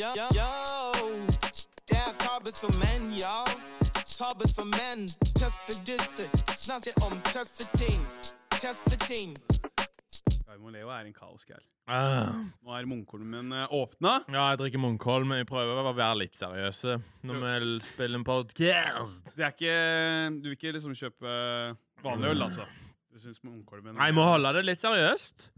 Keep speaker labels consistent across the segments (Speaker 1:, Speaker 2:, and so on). Speaker 1: Yo, yo, yo. Det er kabel for menn, yo. Tabel for menn. Tøffe gutter. Snakker om tøffe ting. Tøffe ting.
Speaker 2: Raymond Leo er en kaosgæren.
Speaker 3: Ah.
Speaker 2: Nå er eh, munnkolmen åpna.
Speaker 3: Ja, jeg drikker Munkholm. Jeg prøver å være litt seriøse når vi l- spiller en podcast.
Speaker 2: Det er ikke Du vil ikke liksom kjøpe vanlig øl, altså? Du syns munnkolmen
Speaker 3: Nei, jeg må holde det litt seriøst.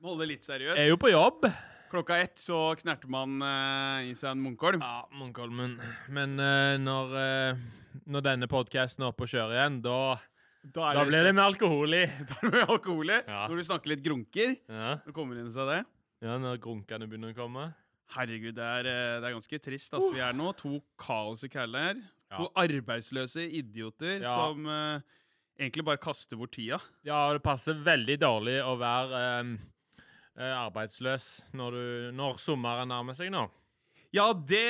Speaker 2: Må holde det litt
Speaker 3: Jeg er
Speaker 2: seriøst.
Speaker 3: jo på jobb.
Speaker 2: Klokka ett så knerter man eh, i seg en munnkolm.
Speaker 3: Ja, Munkholmen. Men eh, når, eh, når denne podcasten er oppe og kjører igjen, da,
Speaker 2: Da,
Speaker 3: da blir det mer alkohol i.
Speaker 2: Da er det alkohol i.
Speaker 3: Ja.
Speaker 2: Når du snakker litt grunker,
Speaker 3: Ja.
Speaker 2: så kommer det inn seg det.
Speaker 3: ja, når grunkene begynner å komme.
Speaker 2: Herregud, det er, eh, det er ganske trist. Altså, Vi er nå to kaos i kæle her. To arbeidsløse idioter
Speaker 3: Ja.
Speaker 2: som eh, egentlig bare kaster bort tida.
Speaker 3: Ja, og det passer veldig dårlig å være eh, eh, arbeidsløs når, du, når sommeren nærmer seg nå.
Speaker 2: Ja, det,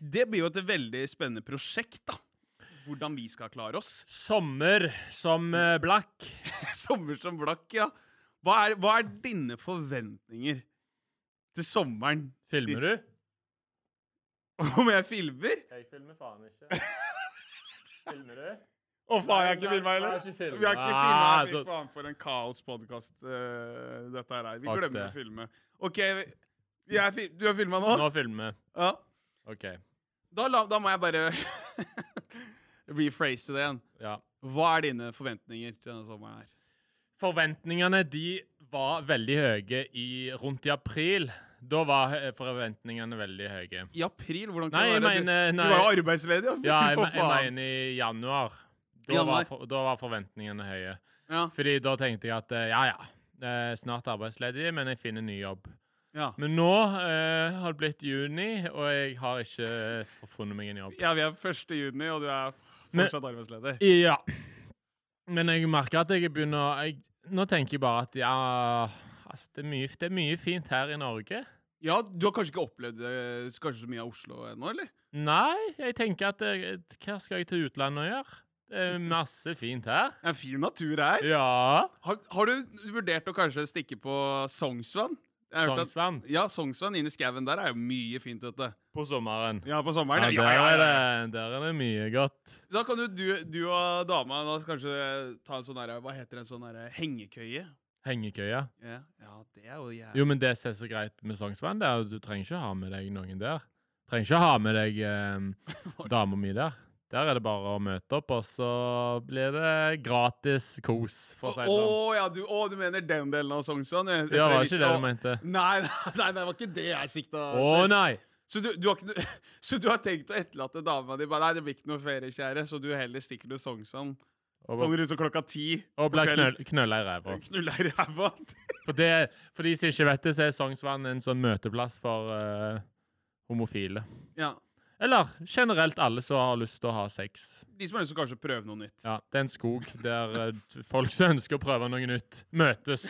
Speaker 2: det blir jo et veldig spennende prosjekt, da. Hvordan vi skal klare oss.
Speaker 3: Sommer som eh, blakk.
Speaker 2: Sommer som blakk, ja. Hva er, hva er dine forventninger til sommeren?
Speaker 3: Filmer du?
Speaker 2: Om jeg filmer?
Speaker 3: Jeg filmer faen ikke. Filmer du?
Speaker 2: Å, faen, jeg har
Speaker 3: Nei,
Speaker 2: ikke
Speaker 3: nei,
Speaker 2: filma heller.
Speaker 3: jeg har ikke filmet.
Speaker 2: Vi har ikke
Speaker 3: Ah,
Speaker 2: filma.
Speaker 3: så-
Speaker 2: Fy faen, for en kaospodkast eh, dette her er. Vi
Speaker 3: Fuck
Speaker 2: glemmer
Speaker 3: det.
Speaker 2: å filme. OK, vi- vi er fil- du har filma nå?
Speaker 3: Nå filmer vi.
Speaker 2: Ja.
Speaker 3: OK.
Speaker 2: Da, la, da må jeg bare rephrase det igjen.
Speaker 3: Ja.
Speaker 2: Hva er dine forventninger til denne sommeren her?
Speaker 3: Forventningene de var veldig høye i, rundt i april. Da var eh, forventningene veldig høye.
Speaker 2: I april? Hvordan kan
Speaker 3: Nei,
Speaker 2: det
Speaker 3: jeg
Speaker 2: være?
Speaker 3: mener-
Speaker 2: du,
Speaker 3: nei.
Speaker 2: du var jo arbeidsledig.
Speaker 3: Ja, jeg,
Speaker 2: for
Speaker 3: me- jeg
Speaker 2: faen.
Speaker 3: mener i januar. Da,
Speaker 2: Januar.
Speaker 3: Var, for- da var forventningene høye.
Speaker 2: Ja,
Speaker 3: Fordi da tenkte jeg at eh, ja, ja, eh, snart arbeidsledig, men jeg finner ny jobb.
Speaker 2: ja.
Speaker 3: Men nå eh, har det blitt juni, og jeg har ikke eh, funnet meg en jobb.
Speaker 2: ja, vi er 1. juni, og du er
Speaker 3: Men-
Speaker 2: fortsatt arbeidsledig.
Speaker 3: Ja. Men jeg merker at jeg begynner jeg, Nå tenker jeg bare at ja altså, det, er mye, det er mye fint her i Norge.
Speaker 2: Ja, du har kanskje ikke opplevd eh, kanskje så mye av Oslo ennå, eller?
Speaker 3: Nei, jeg tenker at eh, hva skal jeg til utlandet og gjøre? Det er masse fint her.
Speaker 2: Det er fin natur her.
Speaker 3: Ja.
Speaker 2: Har, har du vurdert å kanskje stikke på Sognsvann? Jeg har hørt at-
Speaker 3: Sognsvann
Speaker 2: Ja, Sognsvann inn i skauen der er jo mye fint, vet du.
Speaker 3: på sommeren.
Speaker 2: Ja, på
Speaker 3: Ja,
Speaker 2: sommeren.
Speaker 3: der, er det, der er det mye godt.
Speaker 2: Da kan jo du, du og dama da kanskje ta en sånn her, hva heter det, en sånn her hengekøye?
Speaker 3: Hengekøya.
Speaker 2: Ja, ja, det er jo jævlig.
Speaker 3: Jo, men det som er så greit med Sognsvann, det er at du trenger ikke ha med deg noen der. Trenger ikke ha med deg eh, dama mi der. Der er det bare å møte opp, og så blir det gratis kos, for å
Speaker 2: Å
Speaker 3: si det sånn.
Speaker 2: ja, du, å, du mener den delen av Sognsvann? Jeg-
Speaker 3: Ja, var
Speaker 2: jeg
Speaker 3: ikke
Speaker 2: visste-
Speaker 3: det du mente?
Speaker 2: Nei, nei, nei, det var ikke det jeg sikta
Speaker 3: Å nei!
Speaker 2: så, du, du har ikke, noe- så du har tenkt å etterlate dama di bare Nei, det blir ikke noe ferie, kjære, så du heller stikker til Sognsvann
Speaker 3: Og,
Speaker 2: sånn rundt klokka ti? på
Speaker 3: og blir
Speaker 2: kvelden.
Speaker 3: knøll, knølla i ræva.
Speaker 2: Knulla i ræva.
Speaker 3: For, det- for de som ikke vet det, så er Sognsvann en sånn møteplass for eh, homofile.
Speaker 2: Ja.
Speaker 3: Eller generelt alle som har lyst til å ha sex.
Speaker 2: De som har lyst til å kanskje prøve noe nytt.
Speaker 3: Ja, Det er en skog der eh, folk som ønsker å prøve noe nytt, møtes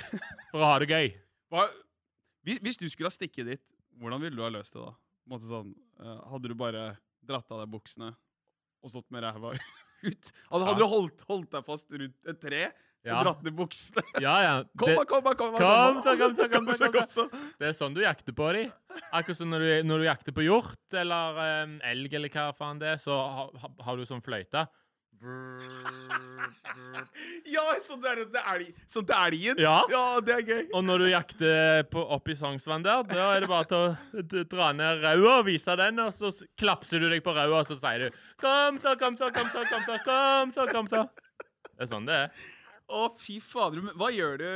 Speaker 3: for å ha det gøy.
Speaker 2: Hva, hvis, hvis du skulle ha stikket dit, hvordan ville du ha løst det da? På en måte sånn, eh, hadde du bare dratt av deg buksene og stått med ræva ut? Hadde,
Speaker 3: Ja.
Speaker 2: hadde du holdt, holdt deg fast rundt et tre
Speaker 3: Ja.
Speaker 2: og dratt ned buksene?
Speaker 3: Ja, ja.
Speaker 2: Kom, da,
Speaker 3: Det,
Speaker 2: kom, da, kom, da,
Speaker 3: Kom,
Speaker 2: da,
Speaker 3: da, kom, da, kom, da,
Speaker 2: så,
Speaker 3: kom, da.
Speaker 2: så.
Speaker 3: det er sånn du jakter på dem. Akkurat som når du, når du jakter på hjort eller em, elg eller hva faen det er, så ha, ha, har du sånn fløyte.
Speaker 2: Ja, sånn det er det er elg- sånn det er elgen.
Speaker 3: Ja.
Speaker 2: ja, det er gøy.
Speaker 3: Og når du jakter på, opp i Sognsvann der, da er det bare til å d- dra ned raua og vise den, og så s- klapser du deg på raua, og så sier du Kom, så, kom, så, kom, så, kom, så, kom, så, kom, så. Det er sånn det er.
Speaker 2: Å, fy fader. men Hva gjør du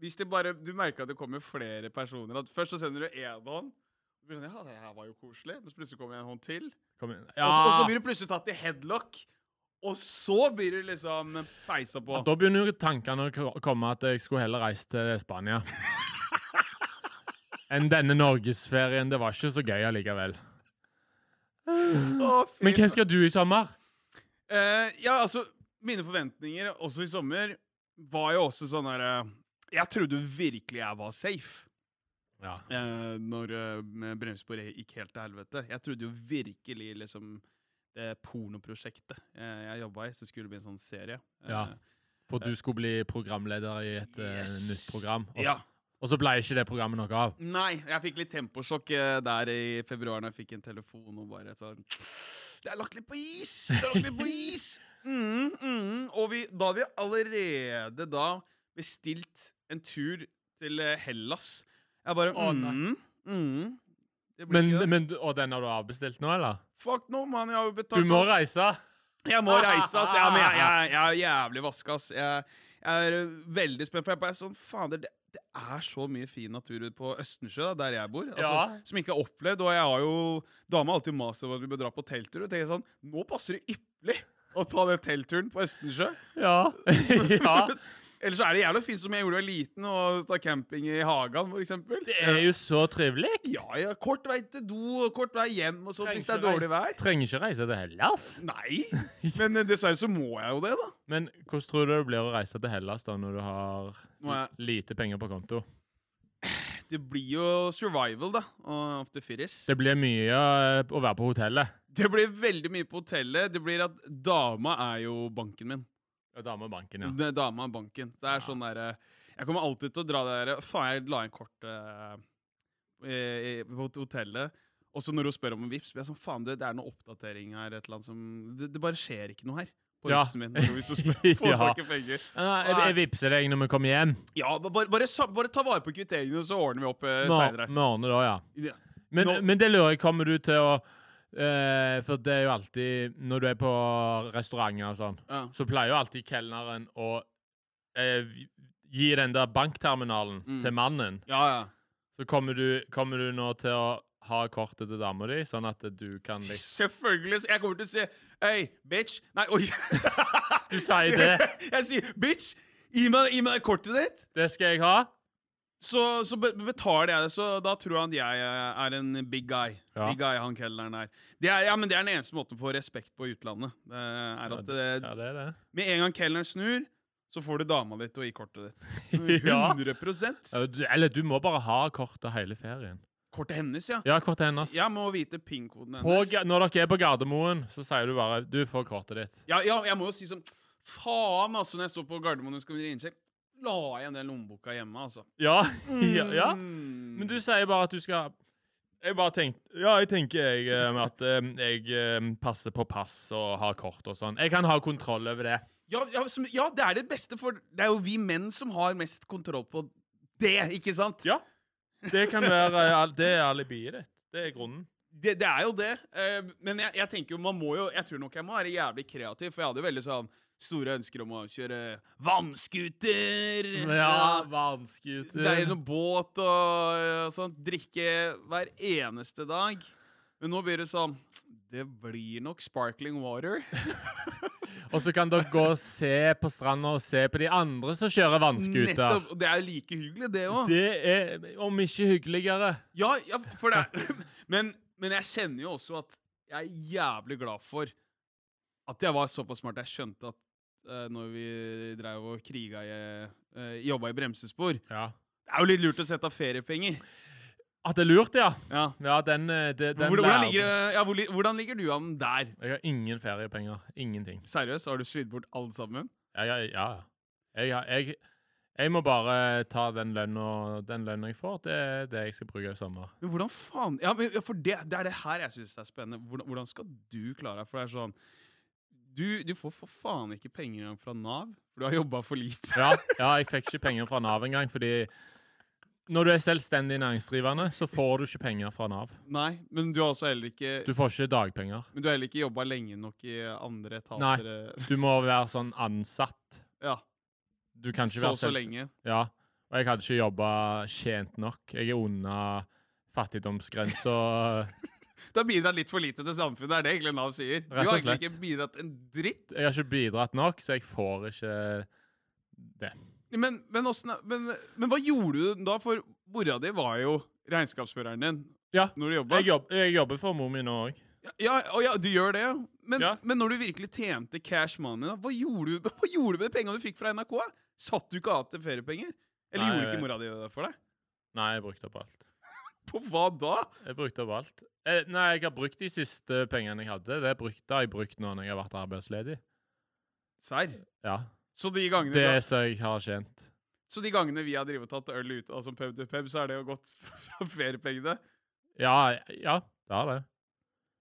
Speaker 2: hvis det bare, du merker at det kommer flere personer? At først så sender du én hånd. og blir sånn, Ja, det her var jo koselig. Men så plutselig kommer en hånd til.
Speaker 3: Kom igjen.
Speaker 2: Og, så, og så
Speaker 3: Ja.
Speaker 2: blir du plutselig tatt i headlock. Og så blir du liksom peisa på.
Speaker 3: Da begynner jo tankene å k- komme at jeg skulle heller reist til Spania. Enn denne norgesferien. Det var ikke så gøy allikevel.
Speaker 2: Å, fy
Speaker 3: Men hva skal du i sommer?
Speaker 2: Eh, ja, altså, mine forventninger også i sommer var jo også sånn her eh, Jeg trodde virkelig jeg var safe.
Speaker 3: Ja.
Speaker 2: eh, når eh, med Bremsborg gikk helt til helvete. Jeg trodde jo virkelig liksom det pornoprosjektet eh, jeg jobba i, så skulle det bli en sånn serie. Eh,
Speaker 3: Ja. For du skulle bli programleder i et eh,
Speaker 2: Yes.
Speaker 3: nytt program. Og,
Speaker 2: ja.
Speaker 3: Og så ble ikke det programmet noe av.
Speaker 2: Nei, jeg fikk litt temposjokk eh, der i februar når jeg fikk en telefon og bare sånn Det er lagt litt på is! Det er lagt litt på is! Mm, mm. Og vi, da hadde vi allerede da bestilt en tur til eh, Hellas. Jeg bare
Speaker 4: Å, nei.
Speaker 2: mm, mm. Det blir
Speaker 3: Men,
Speaker 2: ikke det.
Speaker 3: men, og den har du avbestilt nå, eller?
Speaker 2: Fuck no, mann. Jeg har jo
Speaker 3: Du
Speaker 2: betalt
Speaker 3: må
Speaker 2: alt.
Speaker 3: reise.
Speaker 2: Jeg må reise, ass. Ja, men jeg, jeg, jeg er jævlig vaska, ass. Jeg, jeg er eh, veldig spent, for jeg bare sånn Fader, det, det er så mye fin natur ute på Østensjø, da, der jeg bor, altså,
Speaker 3: Ja.
Speaker 2: som ikke er opplevd. Og jeg har jo Dama har alltid mast om at vi bør dra på telttur, og tenker sånn Nå passer det ypperlig å ta den teltturen på Østensjø.
Speaker 3: Ja. ja.
Speaker 2: Ellers så er det jævlig fint som jeg gjorde da jeg var liten, og ta camping i hagen, for eksempel.
Speaker 3: Det er jo så trivelig.
Speaker 2: Ja, ja. Kort vei til do, og kort vei hjem, og sånn hvis det er dårlig vær.
Speaker 3: Trenger ikke reise til Hellas.
Speaker 2: Nei, men eh, dessverre så må jeg jo det, da.
Speaker 3: Men hvordan tror du det blir å reise til Hellas da når du har
Speaker 2: Nå er jeg
Speaker 3: lite penger på konto?
Speaker 2: Det blir jo survival, da. og Of the fittest.
Speaker 3: Det blir mye eh, å være på hotellet.
Speaker 2: Det blir veldig mye på hotellet. Det blir at dama er jo banken min.
Speaker 3: Ja, dame og banken, ja.
Speaker 2: Det- Dama er banken. Det er
Speaker 3: Ja.
Speaker 2: sånn derre Jeg kommer alltid til å dra det derre Faen, jeg la inn kortet eh, i- på hotellet. Og så når hun spør om en vips, blir jeg sånn Faen, det, det er noe oppdatering her. Et eller annet som Det, det bare skjer ikke noe her. På
Speaker 3: Ja.
Speaker 2: vipsen min. Hvis hun spør, får
Speaker 3: Ja.
Speaker 2: ikke penger.
Speaker 3: Ah, Jeg, jeg vippser deg når vi kommer hjem.
Speaker 2: Ja, ba- bare, bare, sa- bare ta vare på kvitteringene, så ordner vi opp eh,
Speaker 3: Vi
Speaker 2: seinere.
Speaker 3: vi ordner da, ja.
Speaker 2: Ja.
Speaker 3: Men,
Speaker 2: Nå-
Speaker 3: men det lurer jeg, kommer du til å eh, For det er jo alltid Når du er på restauranter og sånn,
Speaker 2: Ja.
Speaker 3: så pleier jo alltid kelneren å eh, vi- gi den der bankterminalen
Speaker 2: Mm.
Speaker 3: til mannen.
Speaker 2: ja, ja.
Speaker 3: Så kommer du, kommer du nå til å ha kortet til dama di, sånn at du kan liksom
Speaker 2: Selvfølgelig. så Jeg kommer til å si Hey, bitch. Nei, oi.
Speaker 3: Du sier det.
Speaker 2: Jeg sier bitch. Gi meg, gi meg kortet ditt,
Speaker 3: Det skal jeg ha.
Speaker 2: så, så be- betaler jeg det. Så da tror han at jeg eh, er en big guy.
Speaker 3: Ja.
Speaker 2: Big guy, han kelneren her. Det er, ja, men det er den eneste måten å få respekt på i utlandet. Det er at eh,
Speaker 3: Ja, det er det.
Speaker 2: Med en gang kelneren snur, så får du dama ditt og i kortet ditt.
Speaker 3: Ja.
Speaker 2: 100
Speaker 3: Ja, du- Eller du må bare ha kortet hele ferien.
Speaker 2: Kortet hennes, ja.
Speaker 3: Ja, kortet hennes.
Speaker 2: Jeg må vite pin-koden
Speaker 3: På,
Speaker 2: hennes.
Speaker 3: Ga- når dere er på Gardermoen, så sier du bare 'du får kortet ditt'.
Speaker 2: Ja, ja, jeg må jo si sånn Faen, altså, når jeg står på Gardermoen og skal gjøre innsjekk, la igjen den lommeboka hjemme, altså.
Speaker 3: Ja, ja, ja.
Speaker 2: Mm.
Speaker 3: Men du sier bare at du skal Jeg bare tenkte Ja, jeg tenker jeg, eh, at eh, jeg eh, passer på pass og har kort og sånn. Jeg kan ha kontroll over det.
Speaker 2: ja, ja, som, ja, det er det beste, for det er jo vi menn som har mest kontroll på det, ikke sant?
Speaker 3: Ja. Det kan være eh, al- Det er alibiet ditt. Det er grunnen.
Speaker 2: Det, det er jo det. eh, men jeg, jeg tenker jo, man må jo Jeg tror nok jeg må være jævlig kreativ, for jeg hadde jo veldig sånn store ønsker om å kjøre vannskuter. eh,
Speaker 3: Ja,
Speaker 2: Det er
Speaker 3: vannskuter.
Speaker 2: noe båt og eh, sånt. Drikke hver eneste dag. Men nå blir det sånn Det blir nok sparkling water.
Speaker 3: Og så kan dere gå og se på stranda og se på de andre som kjører vannskuter.
Speaker 2: Nettopp, og Det er jo like hyggelig, det òg.
Speaker 3: Det er om ikke hyggeligere.
Speaker 2: Ja, ja, for det er men, men jeg kjenner jo også at jeg er jævlig glad for at jeg var såpass smart jeg skjønte at eh, når vi drev og kriga i eh, Jobba i bremsespor
Speaker 3: Ja.
Speaker 2: Det er jo litt lurt å sette av feriepenger.
Speaker 3: At det er lurt, ja.
Speaker 2: Ja.
Speaker 3: Ja, den, eh, det- den
Speaker 2: Hvordan, hvordan,
Speaker 3: lærer-
Speaker 2: ligger, det- ja, hvor li- hvordan ligger du an der?
Speaker 3: Jeg har ingen feriepenger. Ingenting.
Speaker 2: Seriøst, har du svidd bort alle sammen?
Speaker 3: Jeg, jeg, ja, ja. Jeg, har- jeg, jeg må bare ta den lønna den lønna jeg får. Det er det jeg skal bruke i sommer.
Speaker 2: Men hvordan faen Ja, men, ja for det, det er det her jeg syns er spennende. Hvordan, hvordan skal du klare deg? For det er sånn Du, du får for faen ikke penger engang fra Nav, for du har jobba for lite.
Speaker 3: Ja, ja, jeg fikk ikke penger fra Nav engang, fordi når du er selvstendig næringsdrivende, så får du ikke penger fra Nav.
Speaker 2: Nei, men du har også heller ikke
Speaker 3: Du får ikke dagpenger.
Speaker 2: Men du har heller ikke jobba lenge nok i andre
Speaker 3: Nei.
Speaker 2: etater. eh,
Speaker 3: Du må være sånn ansatt.
Speaker 2: Ja,
Speaker 3: Du kan ikke
Speaker 2: så
Speaker 3: være
Speaker 2: så
Speaker 3: selvst-
Speaker 2: lenge.
Speaker 3: Ja. Og jeg hadde ikke jobba tjent nok. Jeg er unna fattigdomsgrensa.
Speaker 2: Du har bidratt litt for lite til samfunnet, er det egentlig Nav sier. Du
Speaker 3: Rett og
Speaker 2: har egentlig
Speaker 3: slett.
Speaker 2: ikke bidratt en dritt.
Speaker 3: Jeg har ikke bidratt nok, så jeg får ikke det.
Speaker 2: Men, men, åssen er- men, men hva gjorde du da? For mora di var jo regnskapsføreren din
Speaker 3: Ja.
Speaker 2: når du jobba.
Speaker 3: Jeg, jobb, jeg jobber for mor mi nå òg.
Speaker 2: Ja, å ja, du gjør det, ja. Men,
Speaker 3: Ja.
Speaker 2: men når du virkelig tjente cash money, da, hva gjorde du, hva gjorde du med de pengene du fikk fra NRK? Satt du ikke av til feriepenger? Eller
Speaker 3: Nei,
Speaker 2: gjorde
Speaker 3: jeg
Speaker 2: ikke
Speaker 3: vet.
Speaker 2: mora di det for deg?
Speaker 3: Nei, jeg brukte opp alt.
Speaker 2: På hva da?
Speaker 3: Jeg brukte opp alt. Eh, nei, jeg har brukt de siste pengene jeg hadde. Det brukte har jeg brukt nå når jeg har vært arbeidsledig.
Speaker 2: Serr?
Speaker 3: Ja.
Speaker 2: Så de gangene
Speaker 3: Det
Speaker 2: du
Speaker 3: er så jeg har tjent.
Speaker 2: Så de gangene vi har drevet og tatt øl ute, altså pub to pub, så er det jo gått fra feriepengene.
Speaker 3: Ja, ja, det har det.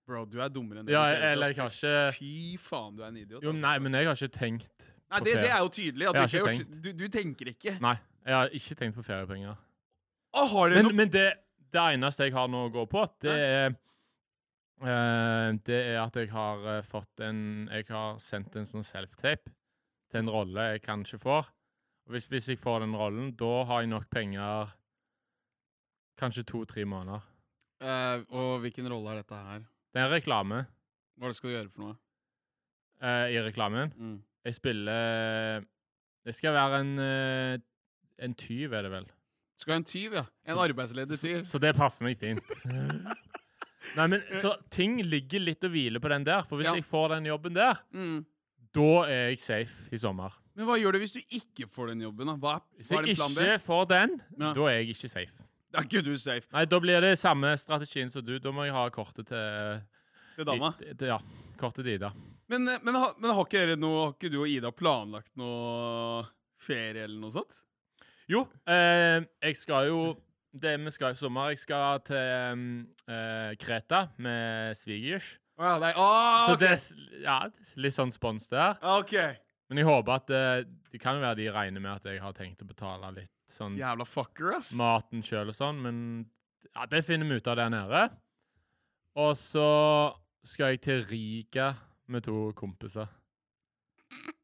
Speaker 2: Bro, du er dummere enn det
Speaker 3: Ja,
Speaker 2: du ser ut,
Speaker 3: eller
Speaker 2: altså.
Speaker 3: kanskje-
Speaker 2: Fy faen, du er en idiot.
Speaker 3: Jo,
Speaker 2: altså.
Speaker 3: nei, men jeg har ikke tenkt
Speaker 2: Nei,
Speaker 3: på
Speaker 2: det, det
Speaker 3: ferie.
Speaker 2: er jo tydelig. At du,
Speaker 3: Jeg har
Speaker 2: ikke har
Speaker 3: ikke
Speaker 2: gjort, du, du tenker ikke.
Speaker 3: Nei, jeg har ikke tenkt på feriepenger.
Speaker 2: Å, har dere
Speaker 3: Men,
Speaker 2: noe
Speaker 3: men det, det eneste jeg har nå å gå på, det er eh, Det er at jeg har eh, fått en Jeg har sendt en sånn self-tape til en rolle jeg kanskje får. Og Hvis, hvis jeg får den rollen, da har jeg nok penger kanskje to-tre måneder.
Speaker 2: Eh, Og hvilken rolle er dette her?
Speaker 3: Det er en reklame
Speaker 2: Hva er det skal du gjøre for noe?
Speaker 3: eh, i reklamen.
Speaker 2: Mm.
Speaker 3: Jeg spiller eh, Jeg skal være en eh, En tyv, er det vel.
Speaker 2: Skal du ha en tyv, ja? En arbeidsledig tyv?
Speaker 3: Så det passer meg fint. Nei, men så ting ligger litt og hviler på den der. For hvis
Speaker 2: Ja.
Speaker 3: jeg får den jobben der,
Speaker 2: Mm.
Speaker 3: da er jeg safe i sommer.
Speaker 2: Men hva gjør du hvis du ikke får den jobben? da? Hva, er-
Speaker 3: Hvis
Speaker 2: hva er din
Speaker 3: jeg
Speaker 2: plan B?
Speaker 3: ikke får den,
Speaker 2: Ja.
Speaker 3: da er jeg ikke safe.
Speaker 2: Da er ikke du safe
Speaker 3: Nei, da blir det samme strategien som du. Da må jeg ha kortet til
Speaker 2: til dama.
Speaker 3: I- til- Ja, kortet til Ida.
Speaker 2: Men, eh, men, ha- men har ikke dere noe, har ikke du og Ida planlagt noe ferie eller noe sånt?
Speaker 3: Jo, eh, jeg skal jo Det vi skal i sommer Jeg skal til eh, Kreta med svigers.
Speaker 2: Å ja, nei. Ah,
Speaker 3: Så
Speaker 2: ok.
Speaker 3: det er s- ja, litt sånn spons der.
Speaker 2: Ah, ok.
Speaker 3: Men jeg håper at eh, det kan jo være de regner med at jeg har tenkt å betale litt sånn
Speaker 2: Jævla fucker, ass.
Speaker 3: maten sjøl og sånn, men ja, det finner vi ut av der nede. Og så skal jeg til Riga med to kompiser.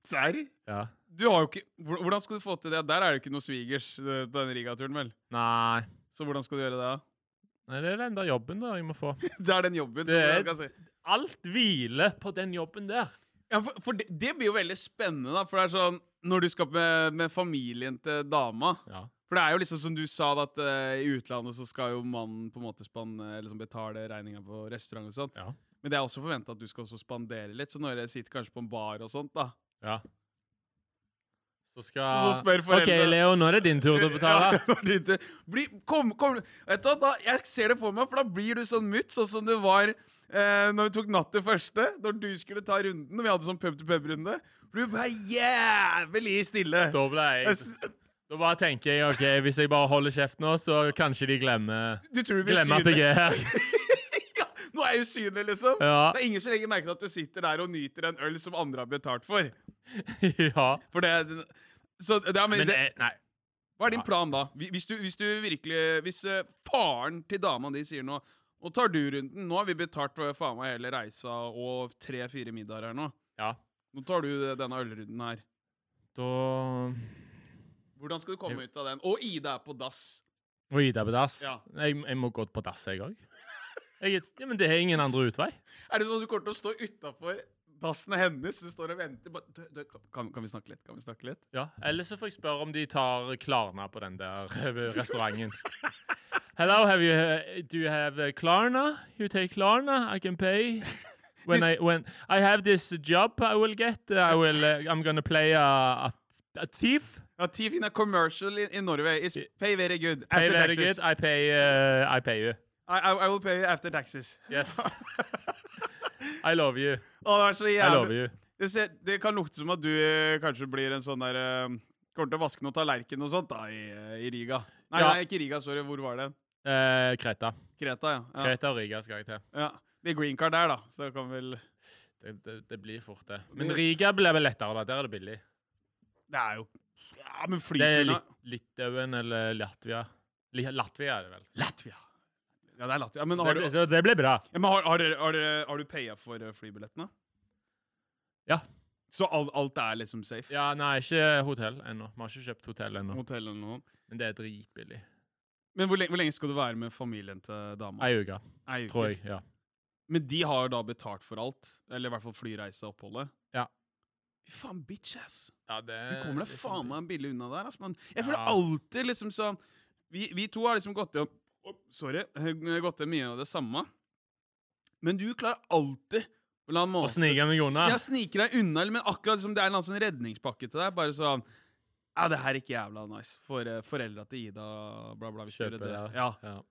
Speaker 2: Serr?
Speaker 3: Ja.
Speaker 2: Du har jo ikke hvor- Hvordan skal du få til det? Der er det ikke noe svigers eh, på den Riga-turen, vel?
Speaker 3: Nei.
Speaker 2: Så hvordan skal du gjøre det, da?
Speaker 3: Nei, det er den der jobben da jeg må få.
Speaker 2: Det er den jobben. som
Speaker 3: Det er-
Speaker 2: jeg kan si.
Speaker 3: Alt hviler på den jobben der.
Speaker 2: Ja, for, for det, det blir jo veldig spennende, da. For det er sånn Når du skal med, med familien til dama
Speaker 3: Ja.
Speaker 2: For det er jo liksom som du sa, da, at eh, i utlandet så skal jo mannen på en måte spanne, liksom betale regninga på restaurant og sånt.
Speaker 3: Ja.
Speaker 2: Men det er også forventa at du skal også spandere litt, så når dere sitter kanskje på en bar og sånt, da
Speaker 3: ja. Så skal
Speaker 2: Så spør
Speaker 3: OK,
Speaker 2: foreldre-
Speaker 3: Leo, nå er det din tur til å betale.
Speaker 2: Ja, når du ikke- bli, kom, kom, vet du, hva, da, Jeg ser det for meg, for da blir du sånn mutt, sånn som du var eh, når vi tok Natt til første. Når du skulle ta runden, og vi hadde sånn pub-til-pub-runde. Du ble jævlig stille.
Speaker 3: Da ble
Speaker 2: Jeg
Speaker 3: jeg
Speaker 2: s-
Speaker 3: Da bare tenker jeg OK, hvis jeg bare holder kjeft nå, så kanskje de glemmer
Speaker 2: Du tror du blir
Speaker 3: Glemmer at jeg
Speaker 2: synlig.
Speaker 3: er her.
Speaker 2: ja, nå er jeg usynlig, liksom.
Speaker 3: Ja.
Speaker 2: Det er ingen som legger merke til at du sitter der og nyter en øl som andre har betalt for.
Speaker 3: ja.
Speaker 2: For det så, det er- men
Speaker 3: Men
Speaker 2: det,
Speaker 3: eh, nei.
Speaker 2: Hva er din plan da? Hvi- Hvis du, hvis du virkelig Hvis eh, faren til dama di sier nå Nå tar du runden. Nå har vi betalt for faen meg hele reisa og tre-fire middager her nå.
Speaker 3: Ja.
Speaker 2: Nå tar du eh, denne ølrunden her.
Speaker 3: Da
Speaker 2: Hvordan skal du komme ut av den? Og Ida er på dass.
Speaker 3: Og Ida på dass?
Speaker 2: Ja.
Speaker 3: Jeg, jeg må gå på dass, jeg òg. Ja, men det er ingen andre utvei.
Speaker 2: Er det sånn at du kommer til å stå utafor dassen hennes? Du står og venter. Bare, du, du, kan, kan vi snakke litt? Kan vi snakke litt?
Speaker 3: Ja, Eller så får jeg spørre om de tar Klarna på den der eh, restauranten. Hello, have you, uh, do you have uh, Klarna? You take Klarna, I can pay. When
Speaker 2: This-
Speaker 3: I when I have this job, I will get. Uh, I will. Uh, I'm gonna play a, a, a thief.
Speaker 2: Ja, Tiff in a commercial in, in Norway is pay very good
Speaker 3: Pay
Speaker 2: after
Speaker 3: very
Speaker 2: taxes.
Speaker 3: good. I pay. Uh, I pay you.
Speaker 2: I, I, I will pay you after taxes.
Speaker 3: Yes. I love you.
Speaker 2: Å, det er så
Speaker 3: I
Speaker 2: jævlig
Speaker 3: love you.
Speaker 2: Det, ser, det kan lukte som at du eh, kanskje blir en sånn der eh, Kommer til å vaske noen tallerken og sånt da, i, eh, i Riga. Nei,
Speaker 3: Ja.
Speaker 2: nei, ikke Riga, sorry. Hvor var det?
Speaker 3: Uh, Kreta.
Speaker 2: Kreta, ja. ja.
Speaker 3: Kreta og Riga skal jeg til.
Speaker 2: ja. Det er green card der, da. Så det kan vel
Speaker 3: Det, det, det blir fort det. Men Riga blir vel lettere, da. Der er det billig.
Speaker 2: Det er jo Ja, men
Speaker 3: Det er
Speaker 2: flyturen da.
Speaker 3: Lit Litauen eller Latvia. Li Latvia er det vel.
Speaker 2: Latvia. Ja, det er Latvia. Ja, men
Speaker 3: Det,
Speaker 2: har du,
Speaker 3: blir- så det blir bra.
Speaker 2: ja, men har, har, dere- har, dere- har du paya for eh, flybillettene?
Speaker 3: Ja.
Speaker 2: Så alt, alt er liksom safe?
Speaker 3: Ja, nei, ikke hotell ennå. Vi har ikke kjøpt hotell ennå.
Speaker 2: Hotell eller noe?
Speaker 3: Men det er dritbillig.
Speaker 2: Men hvor lenge, hvor lenge skal du være med familien til dama?
Speaker 3: Ei uke,
Speaker 2: Ei uke.
Speaker 3: tror jeg. ja.
Speaker 2: Men de har da betalt for alt. Eller i hvert fall flyreise og oppholdet.
Speaker 3: Ja.
Speaker 2: Fy faen, bitch, ass!
Speaker 3: ja det,
Speaker 2: Du kommer deg
Speaker 3: det er
Speaker 2: faen
Speaker 3: sånn-
Speaker 2: meg billig unna der. ass, mann. Jeg føler
Speaker 3: Ja.
Speaker 2: alltid liksom sånn vi, vi to har liksom gått til å- Sorry. Gått til mye av det samme. Men du klarer alltid på en eller annen
Speaker 3: Å
Speaker 2: måte
Speaker 3: snike meg unna.
Speaker 2: Jeg sniker deg unna, men akkurat som det er en eller annen sånn redningspakke til deg. Bare sånn Ja, det her er ikke jævla nice. For eh, foreldra til Ida, bla, bla. Vi skal
Speaker 3: Kjøpe
Speaker 2: gjøre det.
Speaker 3: det.
Speaker 2: Ja.
Speaker 3: Ja.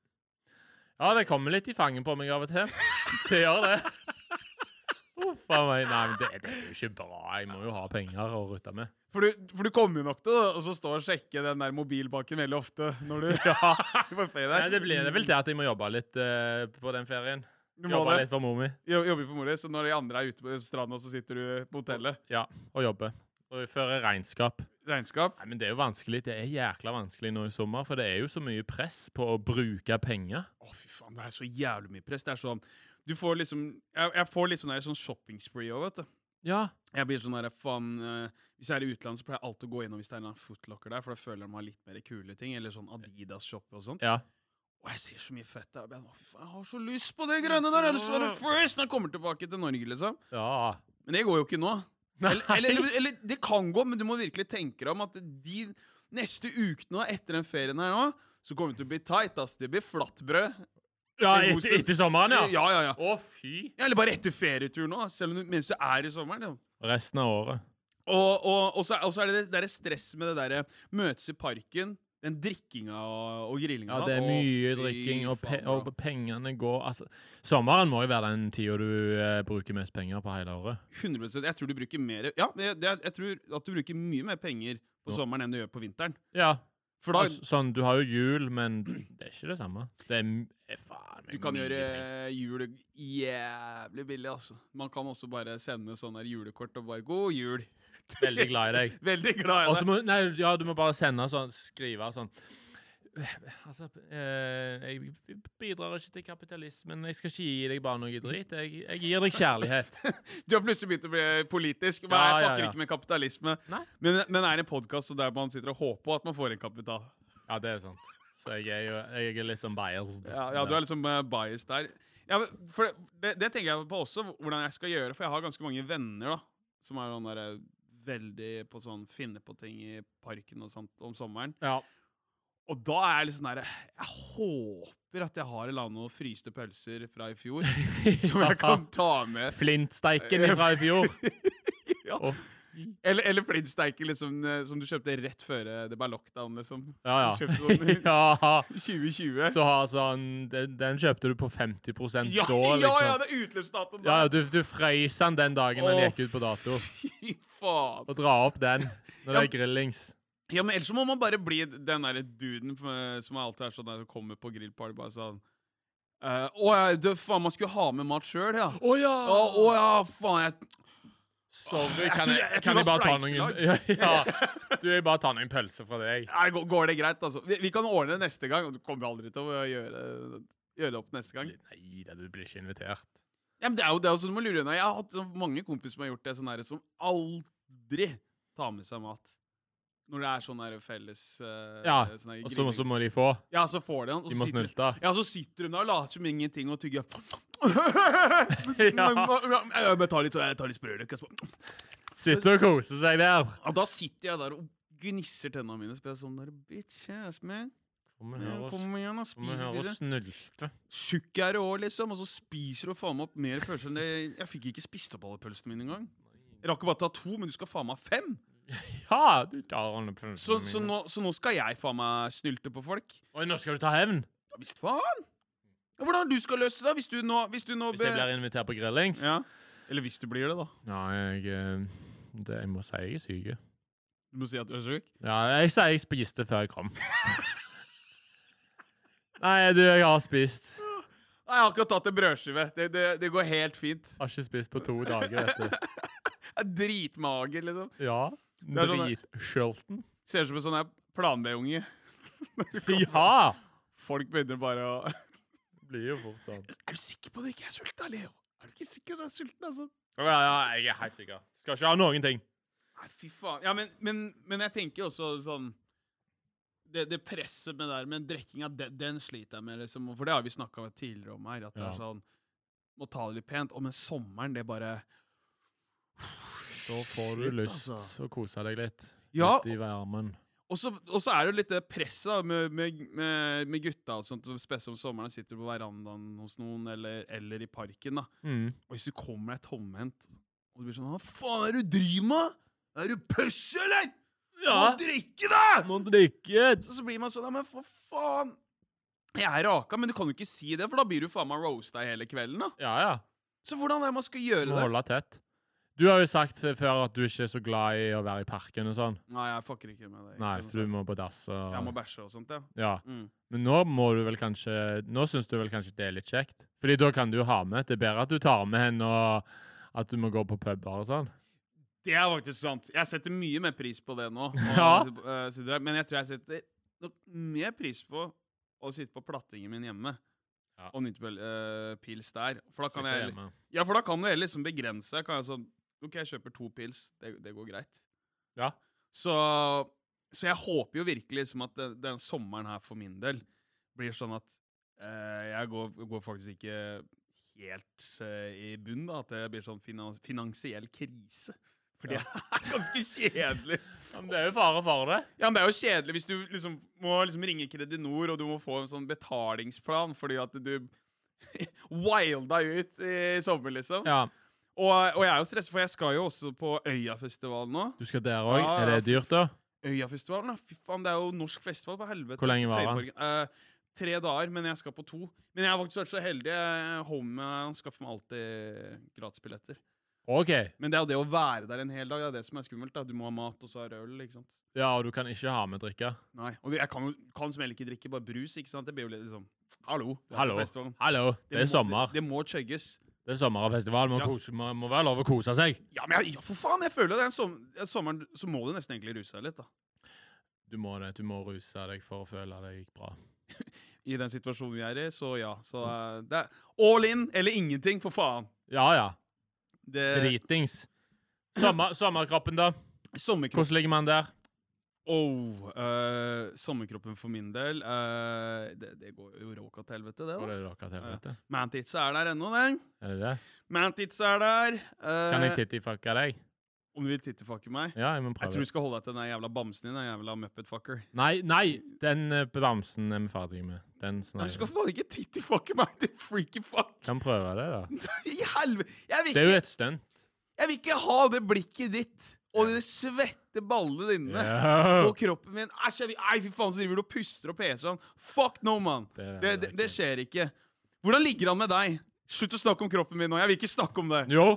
Speaker 3: ja, det kommer litt i fangen på meg av og til. Det gjør det. Å, Faen meg. Nei, men det, det er jo ikke bra. Jeg må jo ha penger å rutte med.
Speaker 2: For du, for du kommer jo nok til å og så stå og sjekke den der mobilbanken veldig ofte når du ja. på ferie der.
Speaker 3: Nei, det blir det vel til at jeg må jobbe litt eh, på den ferien.
Speaker 2: Du må
Speaker 3: Jobbe
Speaker 2: det.
Speaker 3: litt for mor mi.
Speaker 2: Jo- Jobber for mora di, så når de andre er ute på stranda, så sitter du på hotellet.
Speaker 3: Ja, og jobbe. Og føre regnskap.
Speaker 2: Regnskap.
Speaker 3: Nei, men det er jo vanskelig. Det er jækla vanskelig nå i sommer, for det er jo så mye press på å bruke penger.
Speaker 2: Å, fy faen, det er så jævlig mye press. Det er sånn Du får liksom Jeg, jeg får litt sånn, der sånn shopping spree òg, vet du.
Speaker 3: Ja.
Speaker 2: Jeg blir sånn der, faen, eh, Hvis jeg er i utlandet, så pleier jeg alltid å gå innom hvis det er en eller annen footlocker der, for da føler jeg de har litt mer kule ting. Eller sånn Adidas-shopper og sånn.
Speaker 3: Ja.
Speaker 2: Og jeg ser så mye fett der. og jeg bare, Å, fy faen, jeg har så lyst på det grønne der! Jeg har lyst til å være first når jeg kommer tilbake til Norge, liksom.
Speaker 3: ja.
Speaker 2: Men det går jo ikke nå.
Speaker 3: Nei.
Speaker 2: Eller, eller, eller, eller det kan gå, men du må virkelig tenke deg om at de neste ukene og etter den ferien her nå, så kommer det til å bli tight, ass. Det blir flatbrød.
Speaker 3: ja
Speaker 2: i
Speaker 3: etter,
Speaker 2: mosen.
Speaker 3: etter sommeren, Sånn, ja.
Speaker 2: ja, ja, ja.
Speaker 3: Å, fy.
Speaker 2: Ja, eller bare etter ferietur nå, selv om du, mens du er i sommeren. Ja.
Speaker 3: Resten av året.
Speaker 2: Og, og, og, så, og så er det det der stress med det derre møtes i parken, den drikkinga og, og grillinga.
Speaker 3: Ja, det er
Speaker 2: Å,
Speaker 3: mye
Speaker 2: fy
Speaker 3: drikking, og, pe
Speaker 2: faen,
Speaker 3: og
Speaker 2: da.
Speaker 3: pengene går altså, Sommeren må jo være den tida du eh, bruker mest penger på hele året.
Speaker 2: 100 Jeg tror du bruker mer Ja, jeg, jeg, jeg tror at du bruker mye mer penger på
Speaker 3: Ja.
Speaker 2: sommeren enn du gjør på vinteren.
Speaker 3: Ja.
Speaker 2: For da
Speaker 3: altså, sånn, du har jo jul, men det er ikke det samme. Det er, m- eh, faen meg
Speaker 2: du kan
Speaker 3: mye
Speaker 2: gjøre
Speaker 3: penger.
Speaker 2: jul jævlig billig, altså. Man kan også bare sende sånne der julekort og bare 'God jul'.
Speaker 3: Veldig glad i deg.
Speaker 2: Veldig glad
Speaker 3: Og
Speaker 2: i
Speaker 3: så
Speaker 2: deg.
Speaker 3: må, nei, ja, du må bare sende sånn, skrive sånn Altså, eh, jeg bidrar ikke til kapitalismen. Jeg skal ikke gi deg bare noe dritt. Jeg, jeg gir deg kjærlighet.
Speaker 2: Du har plutselig begynt å bli politisk. Men
Speaker 3: Ja,
Speaker 2: jeg
Speaker 3: ja,
Speaker 2: fucker
Speaker 3: ja.
Speaker 2: ikke med kapitalisme.
Speaker 3: Nei.
Speaker 2: Men, men er det en podkast der man sitter og håper at man får en kapital?
Speaker 3: Ja, det er sant. Så jeg er jo jeg er litt sånn biased.
Speaker 2: Ja, ja du er liksom uh, biased der. Ja, men for det, det, det tenker jeg på også, hvordan jeg skal gjøre. For jeg har ganske mange venner da, som er sånn der, eh, veldig på sånn finne på ting i parken og sånt om sommeren.
Speaker 3: ja.
Speaker 2: Og da er jeg litt sånn der Jeg håper at jeg har eller annet noen fryste pølser fra i fjor som jeg kan ta med.
Speaker 3: Flintsteiken fra i fjor.
Speaker 2: Ja.
Speaker 3: Å,
Speaker 2: Eller, eller flintsteiker liksom, eh, som du kjøpte rett før eh, det ble lockdown, liksom.
Speaker 3: ja,
Speaker 2: Du kjøpte
Speaker 3: ja.
Speaker 2: sånn i 2020.
Speaker 3: ja. Så har sånn den, den kjøpte du på 50
Speaker 2: ja,
Speaker 3: da, liksom.
Speaker 2: ja, ja, det er utløpsdatoen!
Speaker 3: Ja,
Speaker 2: da.
Speaker 3: ja, du, du frøys den den dagen den
Speaker 2: Å,
Speaker 3: gikk ut på dato.
Speaker 2: Fy faen!
Speaker 3: Og dra opp den når det
Speaker 2: Ja.
Speaker 3: er grillings.
Speaker 2: Ja, men ellers så må man bare bli den der duden eh, som alltid er sånn der som kommer på grillparty, bare sånn eh, Å ja, du, faen, man skulle ha med mat sjøl, ja.
Speaker 3: Å ja!
Speaker 2: Å å ja, faen, jeg
Speaker 3: Sorry,
Speaker 2: Jeg
Speaker 3: kan
Speaker 2: tror-
Speaker 3: jeg,
Speaker 2: jeg tror
Speaker 3: kan
Speaker 2: det
Speaker 3: jeg bare ta
Speaker 2: var
Speaker 3: noen ja, ja. Du, jeg bare tar noen pølser fra deg.
Speaker 2: Nei, går- Går det greit, altså? Vi, vi kan ordne det neste gang. og Du kommer jo aldri til å gjøre, gjøre det opp neste gang.
Speaker 3: Nei da, du blir ikke invitert.
Speaker 2: Ja, men det er jo det er jo sånn du må lure unna. Jeg har hatt sånn mange kompiser som har gjort det, sånn der, som aldri tar med seg mat. Når det er sånn der felles eh,
Speaker 3: Ja,
Speaker 2: sånn der
Speaker 3: Og så,
Speaker 2: grilling.
Speaker 3: så må de få.
Speaker 2: Ja, så får de han. og
Speaker 3: De
Speaker 2: så
Speaker 3: må
Speaker 2: sitter-
Speaker 3: snulte.
Speaker 2: Ja, så sitter hun der og later som ingenting og tygger.
Speaker 3: Ja.
Speaker 2: Jeg tar litt, sånn, jeg tar litt sprøløk. jeg smak.
Speaker 3: Sitte og kose seg der.
Speaker 2: Ja, da sitter jeg der og gnisser tennene mine. Så blir jeg sånn der, bitch ass man.
Speaker 3: Kom
Speaker 2: Ja,
Speaker 3: her og-
Speaker 2: Kom igjen, da.
Speaker 3: kom
Speaker 2: Spis
Speaker 3: her og
Speaker 2: dere.
Speaker 3: snulte.
Speaker 2: Tjukk er du òg, liksom. Og så spiser du faen meg opp mer pølser enn det Jeg fikk ikke spist opp alle pølsene mine engang. Jeg rakk jo bare ta to, men du skal faen meg ha fem!
Speaker 3: Ja, du tar alle pølsene
Speaker 2: Så, så,
Speaker 3: mine.
Speaker 2: nå, så nå skal jeg faen meg snylte på folk.
Speaker 3: Oi, nå skal du ta hevn?
Speaker 2: Ja visst faen! Ja, Hvordan du skal løse det hvis du nå, hvis du nå
Speaker 3: Hvis jeg
Speaker 2: be-
Speaker 3: blir invitert på grillings?
Speaker 2: Ja. Eller hvis du blir det, da.
Speaker 3: Nei, jeg, eh, det, jeg må si jeg er syk.
Speaker 2: Du må si at du er sjuk.
Speaker 3: Ja, jeg sier jeg spiste før jeg kom. Nei, du, jeg har spist.
Speaker 2: Nei, Jeg har ikke tatt en brødskive. Det, det, det går helt fint.
Speaker 3: Har ikke spist på to dager, vet du.
Speaker 2: Jeg er dritmager, liksom.
Speaker 3: Ja.
Speaker 2: er sånn-
Speaker 3: Dritskjølten.
Speaker 2: Ser ut som en sånn her plan-B-unge.
Speaker 3: Ja!
Speaker 2: Folk begynner bare å
Speaker 3: Blir jo fort sånn.
Speaker 2: Er du sikker på at du ikke er sulten, da, Leo? Er du ikke sikker på at du er sulten, altså?
Speaker 3: Ja, ja, jeg er helt sikker. Skal ikke ha noen ting.
Speaker 2: Nei, fy faen. Ja, men, men, men jeg tenker jo også sånn det, det presset med det der med drikkinga, den, den sliter jeg med, liksom. For det har vi snakka tidligere om her, at det
Speaker 3: Ja.
Speaker 2: er sånn Må ta det litt pent. Og men sommeren, det bare
Speaker 3: Da får du
Speaker 2: Shit,
Speaker 3: lyst å
Speaker 2: altså.
Speaker 3: kose deg litt.
Speaker 2: Ja,
Speaker 3: Ute i varmen.
Speaker 2: Og så, og så er det jo litt det presset da, med, med, med, med gutta og sånt, og spesielt om sommeren. Sitter du på verandaen hos noen, eller, eller i parken. da.
Speaker 3: Mm.
Speaker 2: Og hvis du kommer deg tomhendt, og du blir sånn Hva faen er det du driver med? Er du pøss, eller? Du Må
Speaker 3: Ja,
Speaker 2: drikke, da!
Speaker 3: må drikke.
Speaker 2: Så, så blir man sånn Ja, men for faen. Jeg er raka, men du kan jo ikke si det, for da blir du faen meg roasta hele kvelden. da.
Speaker 3: Ja, ja.
Speaker 2: Så hvordan er det man skal gjøre
Speaker 3: Må
Speaker 2: det?
Speaker 3: holde tett. Du har jo sagt f- før at du ikke er så glad i å være i parken og sånn.
Speaker 2: Nei, jeg fucker ikke med det.
Speaker 3: Nei,
Speaker 2: Ikke noe
Speaker 3: for du
Speaker 2: sånt.
Speaker 3: må på dass og
Speaker 2: Jeg må bæsje og sånt, ja.
Speaker 3: Ja.
Speaker 2: Mm.
Speaker 3: Men nå må du vel kanskje Nå syns du vel kanskje det er litt kjekt? Fordi da kan du ha med. Det er bedre at du tar med henne, og at du må gå på puber og sånn.
Speaker 2: Det er faktisk sant. Jeg setter mye mer pris på det nå. og
Speaker 3: Ja.
Speaker 2: eh, sitter her. Men jeg tror jeg setter nok mer pris på å sitte på plattingen min hjemme
Speaker 3: Ja.
Speaker 2: og nyte vel, eh, pils der. For da kan
Speaker 3: Sitte
Speaker 2: jeg,
Speaker 3: hjemme.
Speaker 2: ja, for da kan du heller liksom begrense. Jeg Kan jeg sånn, OK, jeg kjøper to pils. Det, det går greit.
Speaker 3: Ja.
Speaker 2: Så, så jeg håper jo virkelig liksom at den, den sommeren her for min del blir sånn at eh, jeg går, går faktisk ikke helt eh, i bunn, da. At det blir sånn finan finansiell krise. For det er ganske kjedelig.
Speaker 3: Ja, Men det er jo fare for det.
Speaker 2: Ja, men det er jo kjedelig hvis du liksom må liksom ringe Kredinor, og du må få en sånn betalingsplan fordi at du wilda ut i sommer, liksom.
Speaker 3: Ja.
Speaker 2: Og, og jeg er jo stressa, for jeg skal jo også på Øyafestivalen nå.
Speaker 3: Du skal der òg.
Speaker 2: Ja,
Speaker 3: Er det dyrt, da?
Speaker 2: Øyafestivalen, da. Fy faen, det er jo norsk festival, på helvete.
Speaker 3: Hvor lenge varer den?
Speaker 2: Tøyborgen. Eh, tre dager, men jeg skal på to. Men jeg har faktisk vært så heldig. eh, Homie han skaffer meg alltid gratisbilletter.
Speaker 3: OK.
Speaker 2: Men det er jo det å være der en hel dag, det er det som er skummelt. da. Du må ha mat, og så har du øl, ikke sant.
Speaker 3: Ja, og du kan ikke ha med drikke.
Speaker 2: Nei, Og jeg kan, jo- kan som heller ikke drikke bare brus, ikke sant. Det blir jo litt sånn Hallo. du er på
Speaker 3: Hallo.
Speaker 2: festivalen.
Speaker 3: Hallo. Det er
Speaker 2: må-
Speaker 3: sommer.
Speaker 2: Det, det må chugges.
Speaker 3: Det er sommer og festival. Må,
Speaker 2: Ja.
Speaker 3: kose, må, må være lov å kose seg.
Speaker 2: Ja, men jeg, ja, for faen! Jeg føler det er en som, ja, sommeren Så må du nesten egentlig ruse deg litt, da.
Speaker 3: Du må det. Du må ruse deg for å føle deg bra.
Speaker 2: I den situasjonen vi er i, så ja.
Speaker 3: Mm.
Speaker 2: Så eh, det er all in eller ingenting, for faen.
Speaker 3: Ja ja.
Speaker 2: Det,
Speaker 3: Dritings. Sommer, sommerkroppen, da?
Speaker 2: Sommerkroppen,
Speaker 3: Hvordan ligger man der?
Speaker 2: oh, eh, sommerkroppen for min del eh, det, det går jo råka til helvete, det.
Speaker 3: Var
Speaker 2: da.
Speaker 3: det dere til helvete?
Speaker 2: Mantitsa er der ennå, den.
Speaker 3: Er det det?
Speaker 2: Mantitsa er der. eh,
Speaker 3: Kan jeg tittifucke deg?
Speaker 2: om du vil tittefucke meg?
Speaker 3: Ja, jeg må
Speaker 2: Jeg tror
Speaker 3: prøve.
Speaker 2: du skal holde deg til den der jævla bamsen din. Den jævla muppetfucker.
Speaker 3: Nei, nei! Den eh, bamsen er vi ferdig med. Den
Speaker 2: Nei, Du skal
Speaker 3: sneier.
Speaker 2: faen ikke tittefucke meg, du freaky fuck!
Speaker 3: Kan prøve det, da.
Speaker 2: I helvete! Jeg, vil
Speaker 3: Det
Speaker 2: ikke-
Speaker 3: er jo et stunt.
Speaker 2: jeg vil ikke ha det blikket ditt og de svette ballene dine.
Speaker 3: Ja.
Speaker 2: Og kroppen min Æsj, jeg vil- Nei, fy faen, så driver du og puster og peser sånn. Fuck no, mann!
Speaker 3: Det er
Speaker 2: Det,
Speaker 3: det
Speaker 2: det,
Speaker 3: ikke.
Speaker 2: det skjer ikke. Hvordan ligger han med deg? Slutt å snakke om kroppen min nå. Jeg vil ikke snakke om det.
Speaker 3: Jo.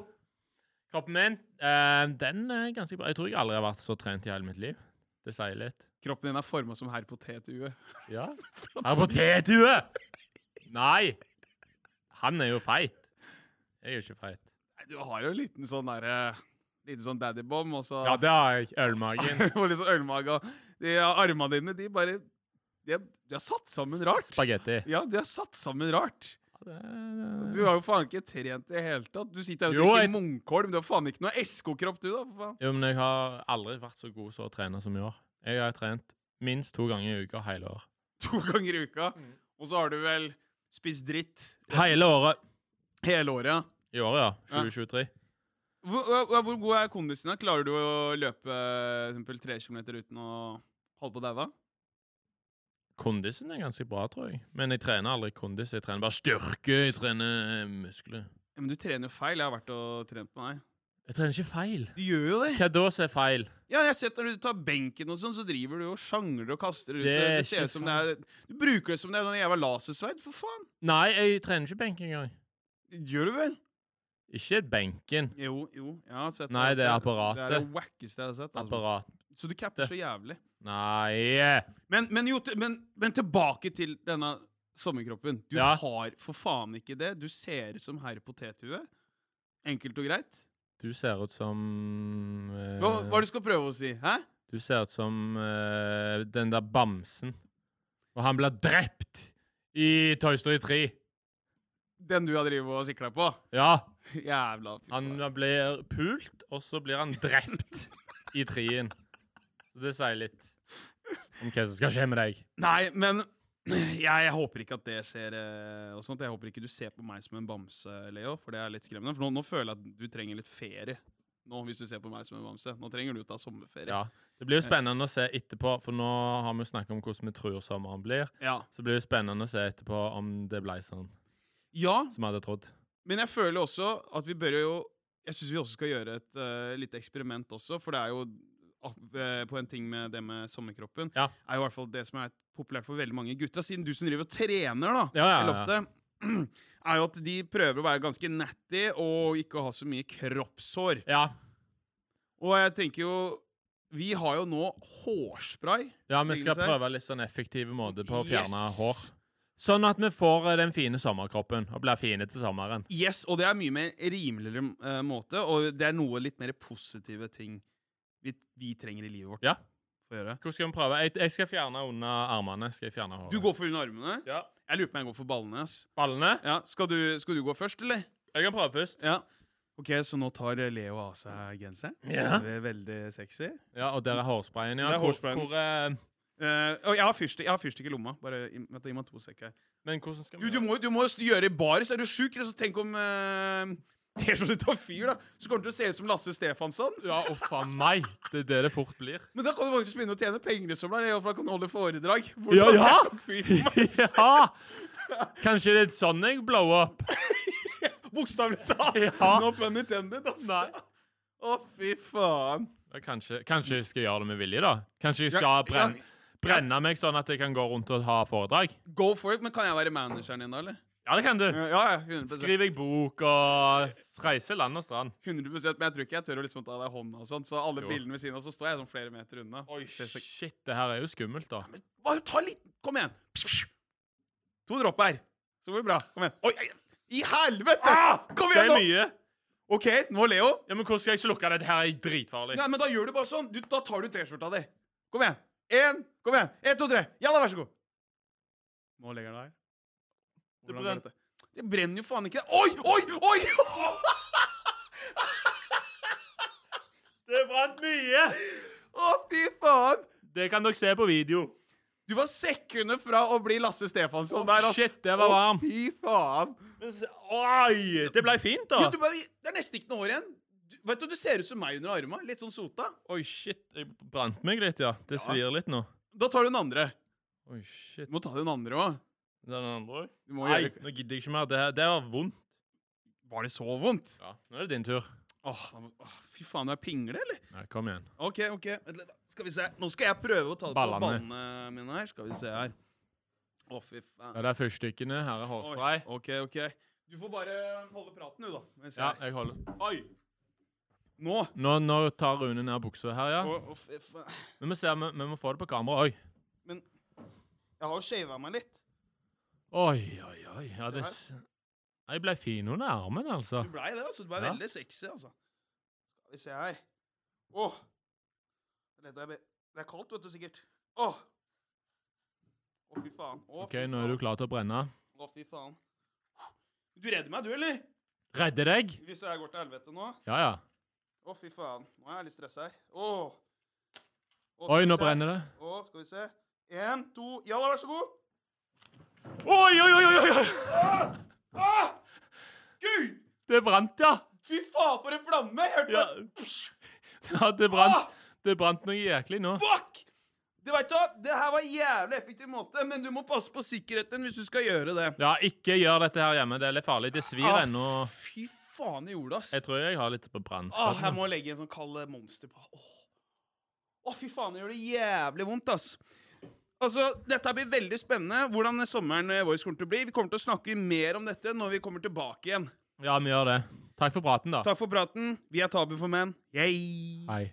Speaker 3: Kroppen min, eh, den er ganske bra. Jeg tror jeg aldri har vært så trent i hele mitt liv. Det sier litt.
Speaker 2: Kroppen din er forma som herr potetue.
Speaker 3: Ja. Her på T-tue! Nei! Han er jo feit. Jeg er jo ikke feit.
Speaker 2: Nei, Du har jo en liten sånn derre Liten sånn daddybom, og så
Speaker 3: Ja, det har jeg. Ølmagen.
Speaker 2: og litt sånn ølmage. og De ja, armene dine, de bare de er, Du er satt sammen rart.
Speaker 3: Spagetti.
Speaker 2: Ja, du er satt sammen rart.
Speaker 3: Ja, det er-
Speaker 2: Du har jo faen ikke trent i det hele tatt. Du sitter her og
Speaker 3: Jo,
Speaker 2: drikker
Speaker 3: jeg-
Speaker 2: munnkolm. Du har faen ikke noe SK-kropp, du, da. for faen.
Speaker 3: Jo, men jeg har aldri vært så god som å trene som i år. Jeg har trent minst to ganger i uka hele år.
Speaker 2: To ganger i uka. Og så har du vel spist dritt resten-
Speaker 3: Hele året.
Speaker 2: hele året. ja.
Speaker 3: I år, ja. 2023.
Speaker 2: Hvor, hvor, hvor god er kondisen din? Klarer du å løpe for eksempel, tre kilometer uten å holde på å daue?
Speaker 3: Kondisen er ganske bra, tror jeg. Men jeg trener aldri kondis. Jeg trener bare styrke. Jeg trener eh, muskler.
Speaker 2: Ja, men du trener jo feil. Jeg har vært og trent på deg.
Speaker 3: Jeg trener ikke feil.
Speaker 2: Du gjør jo det!
Speaker 3: Hva da som er feil?
Speaker 2: Ja, jeg har sett når du tar benken og sånn, så driver du og sjangler og kaster rundt.
Speaker 3: Det
Speaker 2: Det,
Speaker 3: er
Speaker 2: det ser
Speaker 3: ikke
Speaker 2: ut som det er Du bruker det som det er en jævla lasersverd, for faen!
Speaker 3: Nei, jeg trener ikke benk engang.
Speaker 2: Gjør du vel?
Speaker 3: Ikke benken.
Speaker 2: Jo, jo. Jeg har sett
Speaker 3: Nei,
Speaker 2: Det er
Speaker 3: det er
Speaker 2: det
Speaker 3: apparatet.
Speaker 2: wackeste jeg har sett. Altså.
Speaker 3: Apparat.
Speaker 2: Så du capper så jævlig.
Speaker 3: Nei
Speaker 2: Men, men, jo, til- men, men tilbake til denne sommerkroppen. Du
Speaker 3: Ja.
Speaker 2: har for faen ikke det. Du ser ut som herr potethue. Enkelt og greit.
Speaker 3: Du ser ut som eh,
Speaker 2: Hva, hva er det du skal prøve å si? Hæ?
Speaker 3: Du ser ut som eh, den der bamsen. Og han blir drept i Toy Story 3.
Speaker 2: Den du har drevet og sikla på?
Speaker 3: Ja.
Speaker 2: Jævla fy
Speaker 3: Han
Speaker 2: faen.
Speaker 3: blir pult, og så blir han drept i trien. Så det sier litt om hva som skal skje med deg.
Speaker 2: Nei, men jeg, jeg håper ikke at det skjer. eh, Og sånt. Jeg håper ikke du ser på meg som en bamse, Leo, for det er litt skremmende. For nå, nå føler jeg at du trenger litt ferie. Nå, hvis du ser på meg som en bamse. Nå trenger du å ta sommerferie.
Speaker 3: Ja. Det blir jo spennende å se etterpå, for nå har vi snakket om hvordan vi tror sommeren blir.
Speaker 2: Ja.
Speaker 3: Så blir det spennende å se etterpå om det ble sånn
Speaker 2: ja,
Speaker 3: som vi hadde trodd.
Speaker 2: Men jeg føler også at vi bør jo Jeg syns vi også skal gjøre et uh, lite eksperiment også, for det er jo ap- eh, på en ting med det med sommerkroppen
Speaker 3: Ja.
Speaker 2: er jo i hvert fall det som er populært for veldig mange gutter. Siden du som driver og trener, da,
Speaker 3: Ja, ja, ja.
Speaker 2: Lotte, er jo at de prøver å være ganske natty og ikke ha så mye kroppshår.
Speaker 3: Ja.
Speaker 2: Og jeg tenker jo Vi har jo nå hårspray.
Speaker 3: ja, vi skal
Speaker 2: Liggende seg.
Speaker 3: prøve litt sånn effektive måter på å fjerne
Speaker 2: Yes.
Speaker 3: hår. Sånn at vi får eh, den fine sommerkroppen og blir fine til sommeren.
Speaker 2: Yes, og det er mye mer rimeligere eh, måte, og det er noe litt mer positive ting vi, vi trenger i livet vårt.
Speaker 3: Ja.
Speaker 2: For å gjøre.
Speaker 3: Hvordan skal vi prøve? Jeg, jeg skal fjerne under armene. Skal jeg fjerne håret.
Speaker 2: Du går for under armene.
Speaker 3: Ja.
Speaker 2: Jeg lurer på om jeg går for ballene. ass.
Speaker 3: Ballene?
Speaker 2: Ja, skal, du, skal du gå først, eller?
Speaker 3: Jeg kan prøve først.
Speaker 2: Ja. Ok, så nå tar Leo av seg genseren.
Speaker 3: Ja.
Speaker 2: Det er veldig sexy.
Speaker 3: Ja, og der er hårsprayen, ja.
Speaker 2: Der er
Speaker 3: Hvor-
Speaker 2: hårsprayen.
Speaker 3: Hvor, eh,
Speaker 2: Eh, og jeg har fyrstikk- jeg har fyrstikk i lomma. Bare gi- vent, Gi meg to sekunder.
Speaker 3: men hvordan skal
Speaker 2: Du,
Speaker 3: vi
Speaker 2: du, må, du må jo gjøre i baris. Er du sjuk? Eller så tenk om uh, T-skjorta tar fyr, da. Så kommer du til å se ut som Lasse Stefansson.
Speaker 3: Ja, uff a meg. Det er det det fort blir.
Speaker 2: Men da kan du faktisk begynne å tjene penger som deg. Iallfall kan du holde foredrag. Hvordan
Speaker 3: Ja, ja!
Speaker 2: jeg tok fyr på meg.
Speaker 3: ja! Kanskje det er sånn jeg blow up?
Speaker 2: Bokstavelig talt.
Speaker 3: Ja.
Speaker 2: No pun intended, altså.
Speaker 3: Nei.
Speaker 2: Å, fy faen.
Speaker 3: Ja, Kanskje, kanskje jeg skal gjøre det med vilje, da? Kanskje jeg
Speaker 2: Ja,
Speaker 3: skal bren
Speaker 2: ja.
Speaker 3: brenne meg sånn at jeg kan gå rundt og ha foredrag?
Speaker 2: Go for it. Men kan jeg være manageren din, da, eller?
Speaker 3: Ja, det kan du.
Speaker 2: Ja, ja. 100
Speaker 3: Skriver jeg bok og reiser land og strand.
Speaker 2: 100 Men jeg tror ikke jeg tør å liksom ta deg i hånda og sånn. Så alle
Speaker 3: Jo.
Speaker 2: bildene ved siden av, så står jeg sånn flere meter unna.
Speaker 3: Shit, det her er jo skummelt, da.
Speaker 2: Bare ta litt Kom igjen! To dropp her. Så går det bra. Kom igjen. Oi, ei, i helvete! Kom
Speaker 3: Ah! Det
Speaker 2: igjen,
Speaker 3: er
Speaker 2: nå!
Speaker 3: mye.
Speaker 2: OK, nå, Leo.
Speaker 3: Ja, Men hvordan skal jeg slukke det? Det her er dritfarlig.
Speaker 2: Nei, men da gjør du bare sånn. Du, da tar du T-skjorta di. Kom igjen. Én, kom igjen. Én, to, tre. Jalla, vær så god. Nå legger han deg her. Hvordan
Speaker 3: Det brenner.
Speaker 2: går dette? Det brenner jo faen ikke. Oi, oi, oi!
Speaker 3: Det brant mye!
Speaker 2: Å, fy faen!
Speaker 3: Det kan dere se på video.
Speaker 2: Du var sekunder fra å bli Lasse Stefansson der, altså.
Speaker 3: shit, det var varm.
Speaker 2: Å, fy faen.
Speaker 3: Men se- Oi! Det ble fint, da.
Speaker 2: Jo, du bare, det er nesten ikke noe hår igjen. Du, vet du, du ser ut som meg under armene. Litt sånn sota.
Speaker 3: Oi, shit. Jeg brant meg litt, ja. Det svir litt nå.
Speaker 2: Da tar du den andre.
Speaker 3: Oi, shit.
Speaker 2: Du må ta den andre òg.
Speaker 3: Den andre òg?
Speaker 2: Du må
Speaker 3: Nei,
Speaker 2: gjøre
Speaker 3: nå gidder jeg ikke mer. Det, her- det var vondt.
Speaker 2: Var det så vondt?
Speaker 3: Ja, Nå er det din tur.
Speaker 2: Åh, da må- åh, fy faen, du er pingle, eller?
Speaker 3: Nei, kom igjen.
Speaker 2: OK, ok. Vent litt, da. Skal vi se. Nå skal jeg prøve å ta det på
Speaker 3: Ballene.
Speaker 2: ballene mine her. Skal vi se her. Å, fy
Speaker 3: Ja,
Speaker 2: faen.
Speaker 3: det er fyrstikkene. Her er hårspray.
Speaker 2: Oi, OK, OK. Du får bare holde praten, du, da. Mens
Speaker 3: Ja,
Speaker 2: jeg...
Speaker 3: jeg holder. Oi!
Speaker 2: Nå!
Speaker 3: Nå, nå tar Rune ned buksa her, ja.
Speaker 2: Å, å, fy faen.
Speaker 3: Men vi, ser, vi, vi må få det på kamera òg.
Speaker 2: Men jeg har jo shava meg litt.
Speaker 3: Oi, oi, oi. Ja,
Speaker 2: Se her.
Speaker 3: det s- Jeg ble fin under armen, altså.
Speaker 2: Du blei det, altså. Du blei
Speaker 3: Ja.
Speaker 2: veldig sexy, altså. Skal vi se her. Åh. Det er lett å- Det er kaldt, vet du, sikkert. Åh. Å, fy faen. Å,
Speaker 3: OK, nå er du klar til å brenne.
Speaker 2: Å, fy faen. Du redder meg, du, eller?
Speaker 3: Redde deg?
Speaker 2: Hvis jeg går til helvete nå.
Speaker 3: Ja, ja.
Speaker 2: Å, fy faen. Nå er jeg litt stressa her. Åh. Å,
Speaker 3: Oi, nå brenner det.
Speaker 2: Å, skal vi se. En, to, jalla, vær så god.
Speaker 3: Oi, oi, oi, oi! oi.
Speaker 2: Åh! Ah! Gud!
Speaker 3: Det brant, ja.
Speaker 2: Fy faen, for en flamme! Jeg hørte
Speaker 3: Ja.
Speaker 2: bare-
Speaker 3: ja det,
Speaker 2: Åh!
Speaker 3: brant, det brant noe jæklig nå.
Speaker 2: Ah! Fuck! Du vet hva, Det her var en jævlig effektiv måte, men du må passe på sikkerheten hvis du skal gjøre det.
Speaker 3: Ja, ikke gjør dette her hjemme. Det er litt farlig. Det svir
Speaker 2: Ah,
Speaker 3: ennå.
Speaker 2: Fy faen i jorda, ass.
Speaker 3: Jeg tror jeg har litt
Speaker 2: Ah,
Speaker 3: på
Speaker 2: jeg
Speaker 3: brannskaden.
Speaker 2: må legge en sånn kald eh, monster på. Åh, Åh, fy faen, det gjør det jævlig vondt, ass. Altså, Dette blir veldig spennende, hvordan sommeren eh, vår kommer til å bli. Vi kommer til å snakke mer om dette når vi kommer tilbake igjen.
Speaker 3: Ja, vi gjør det. Takk for praten, da.
Speaker 2: Takk for praten. Vi er Tabu for menn. Yay!
Speaker 3: Hei.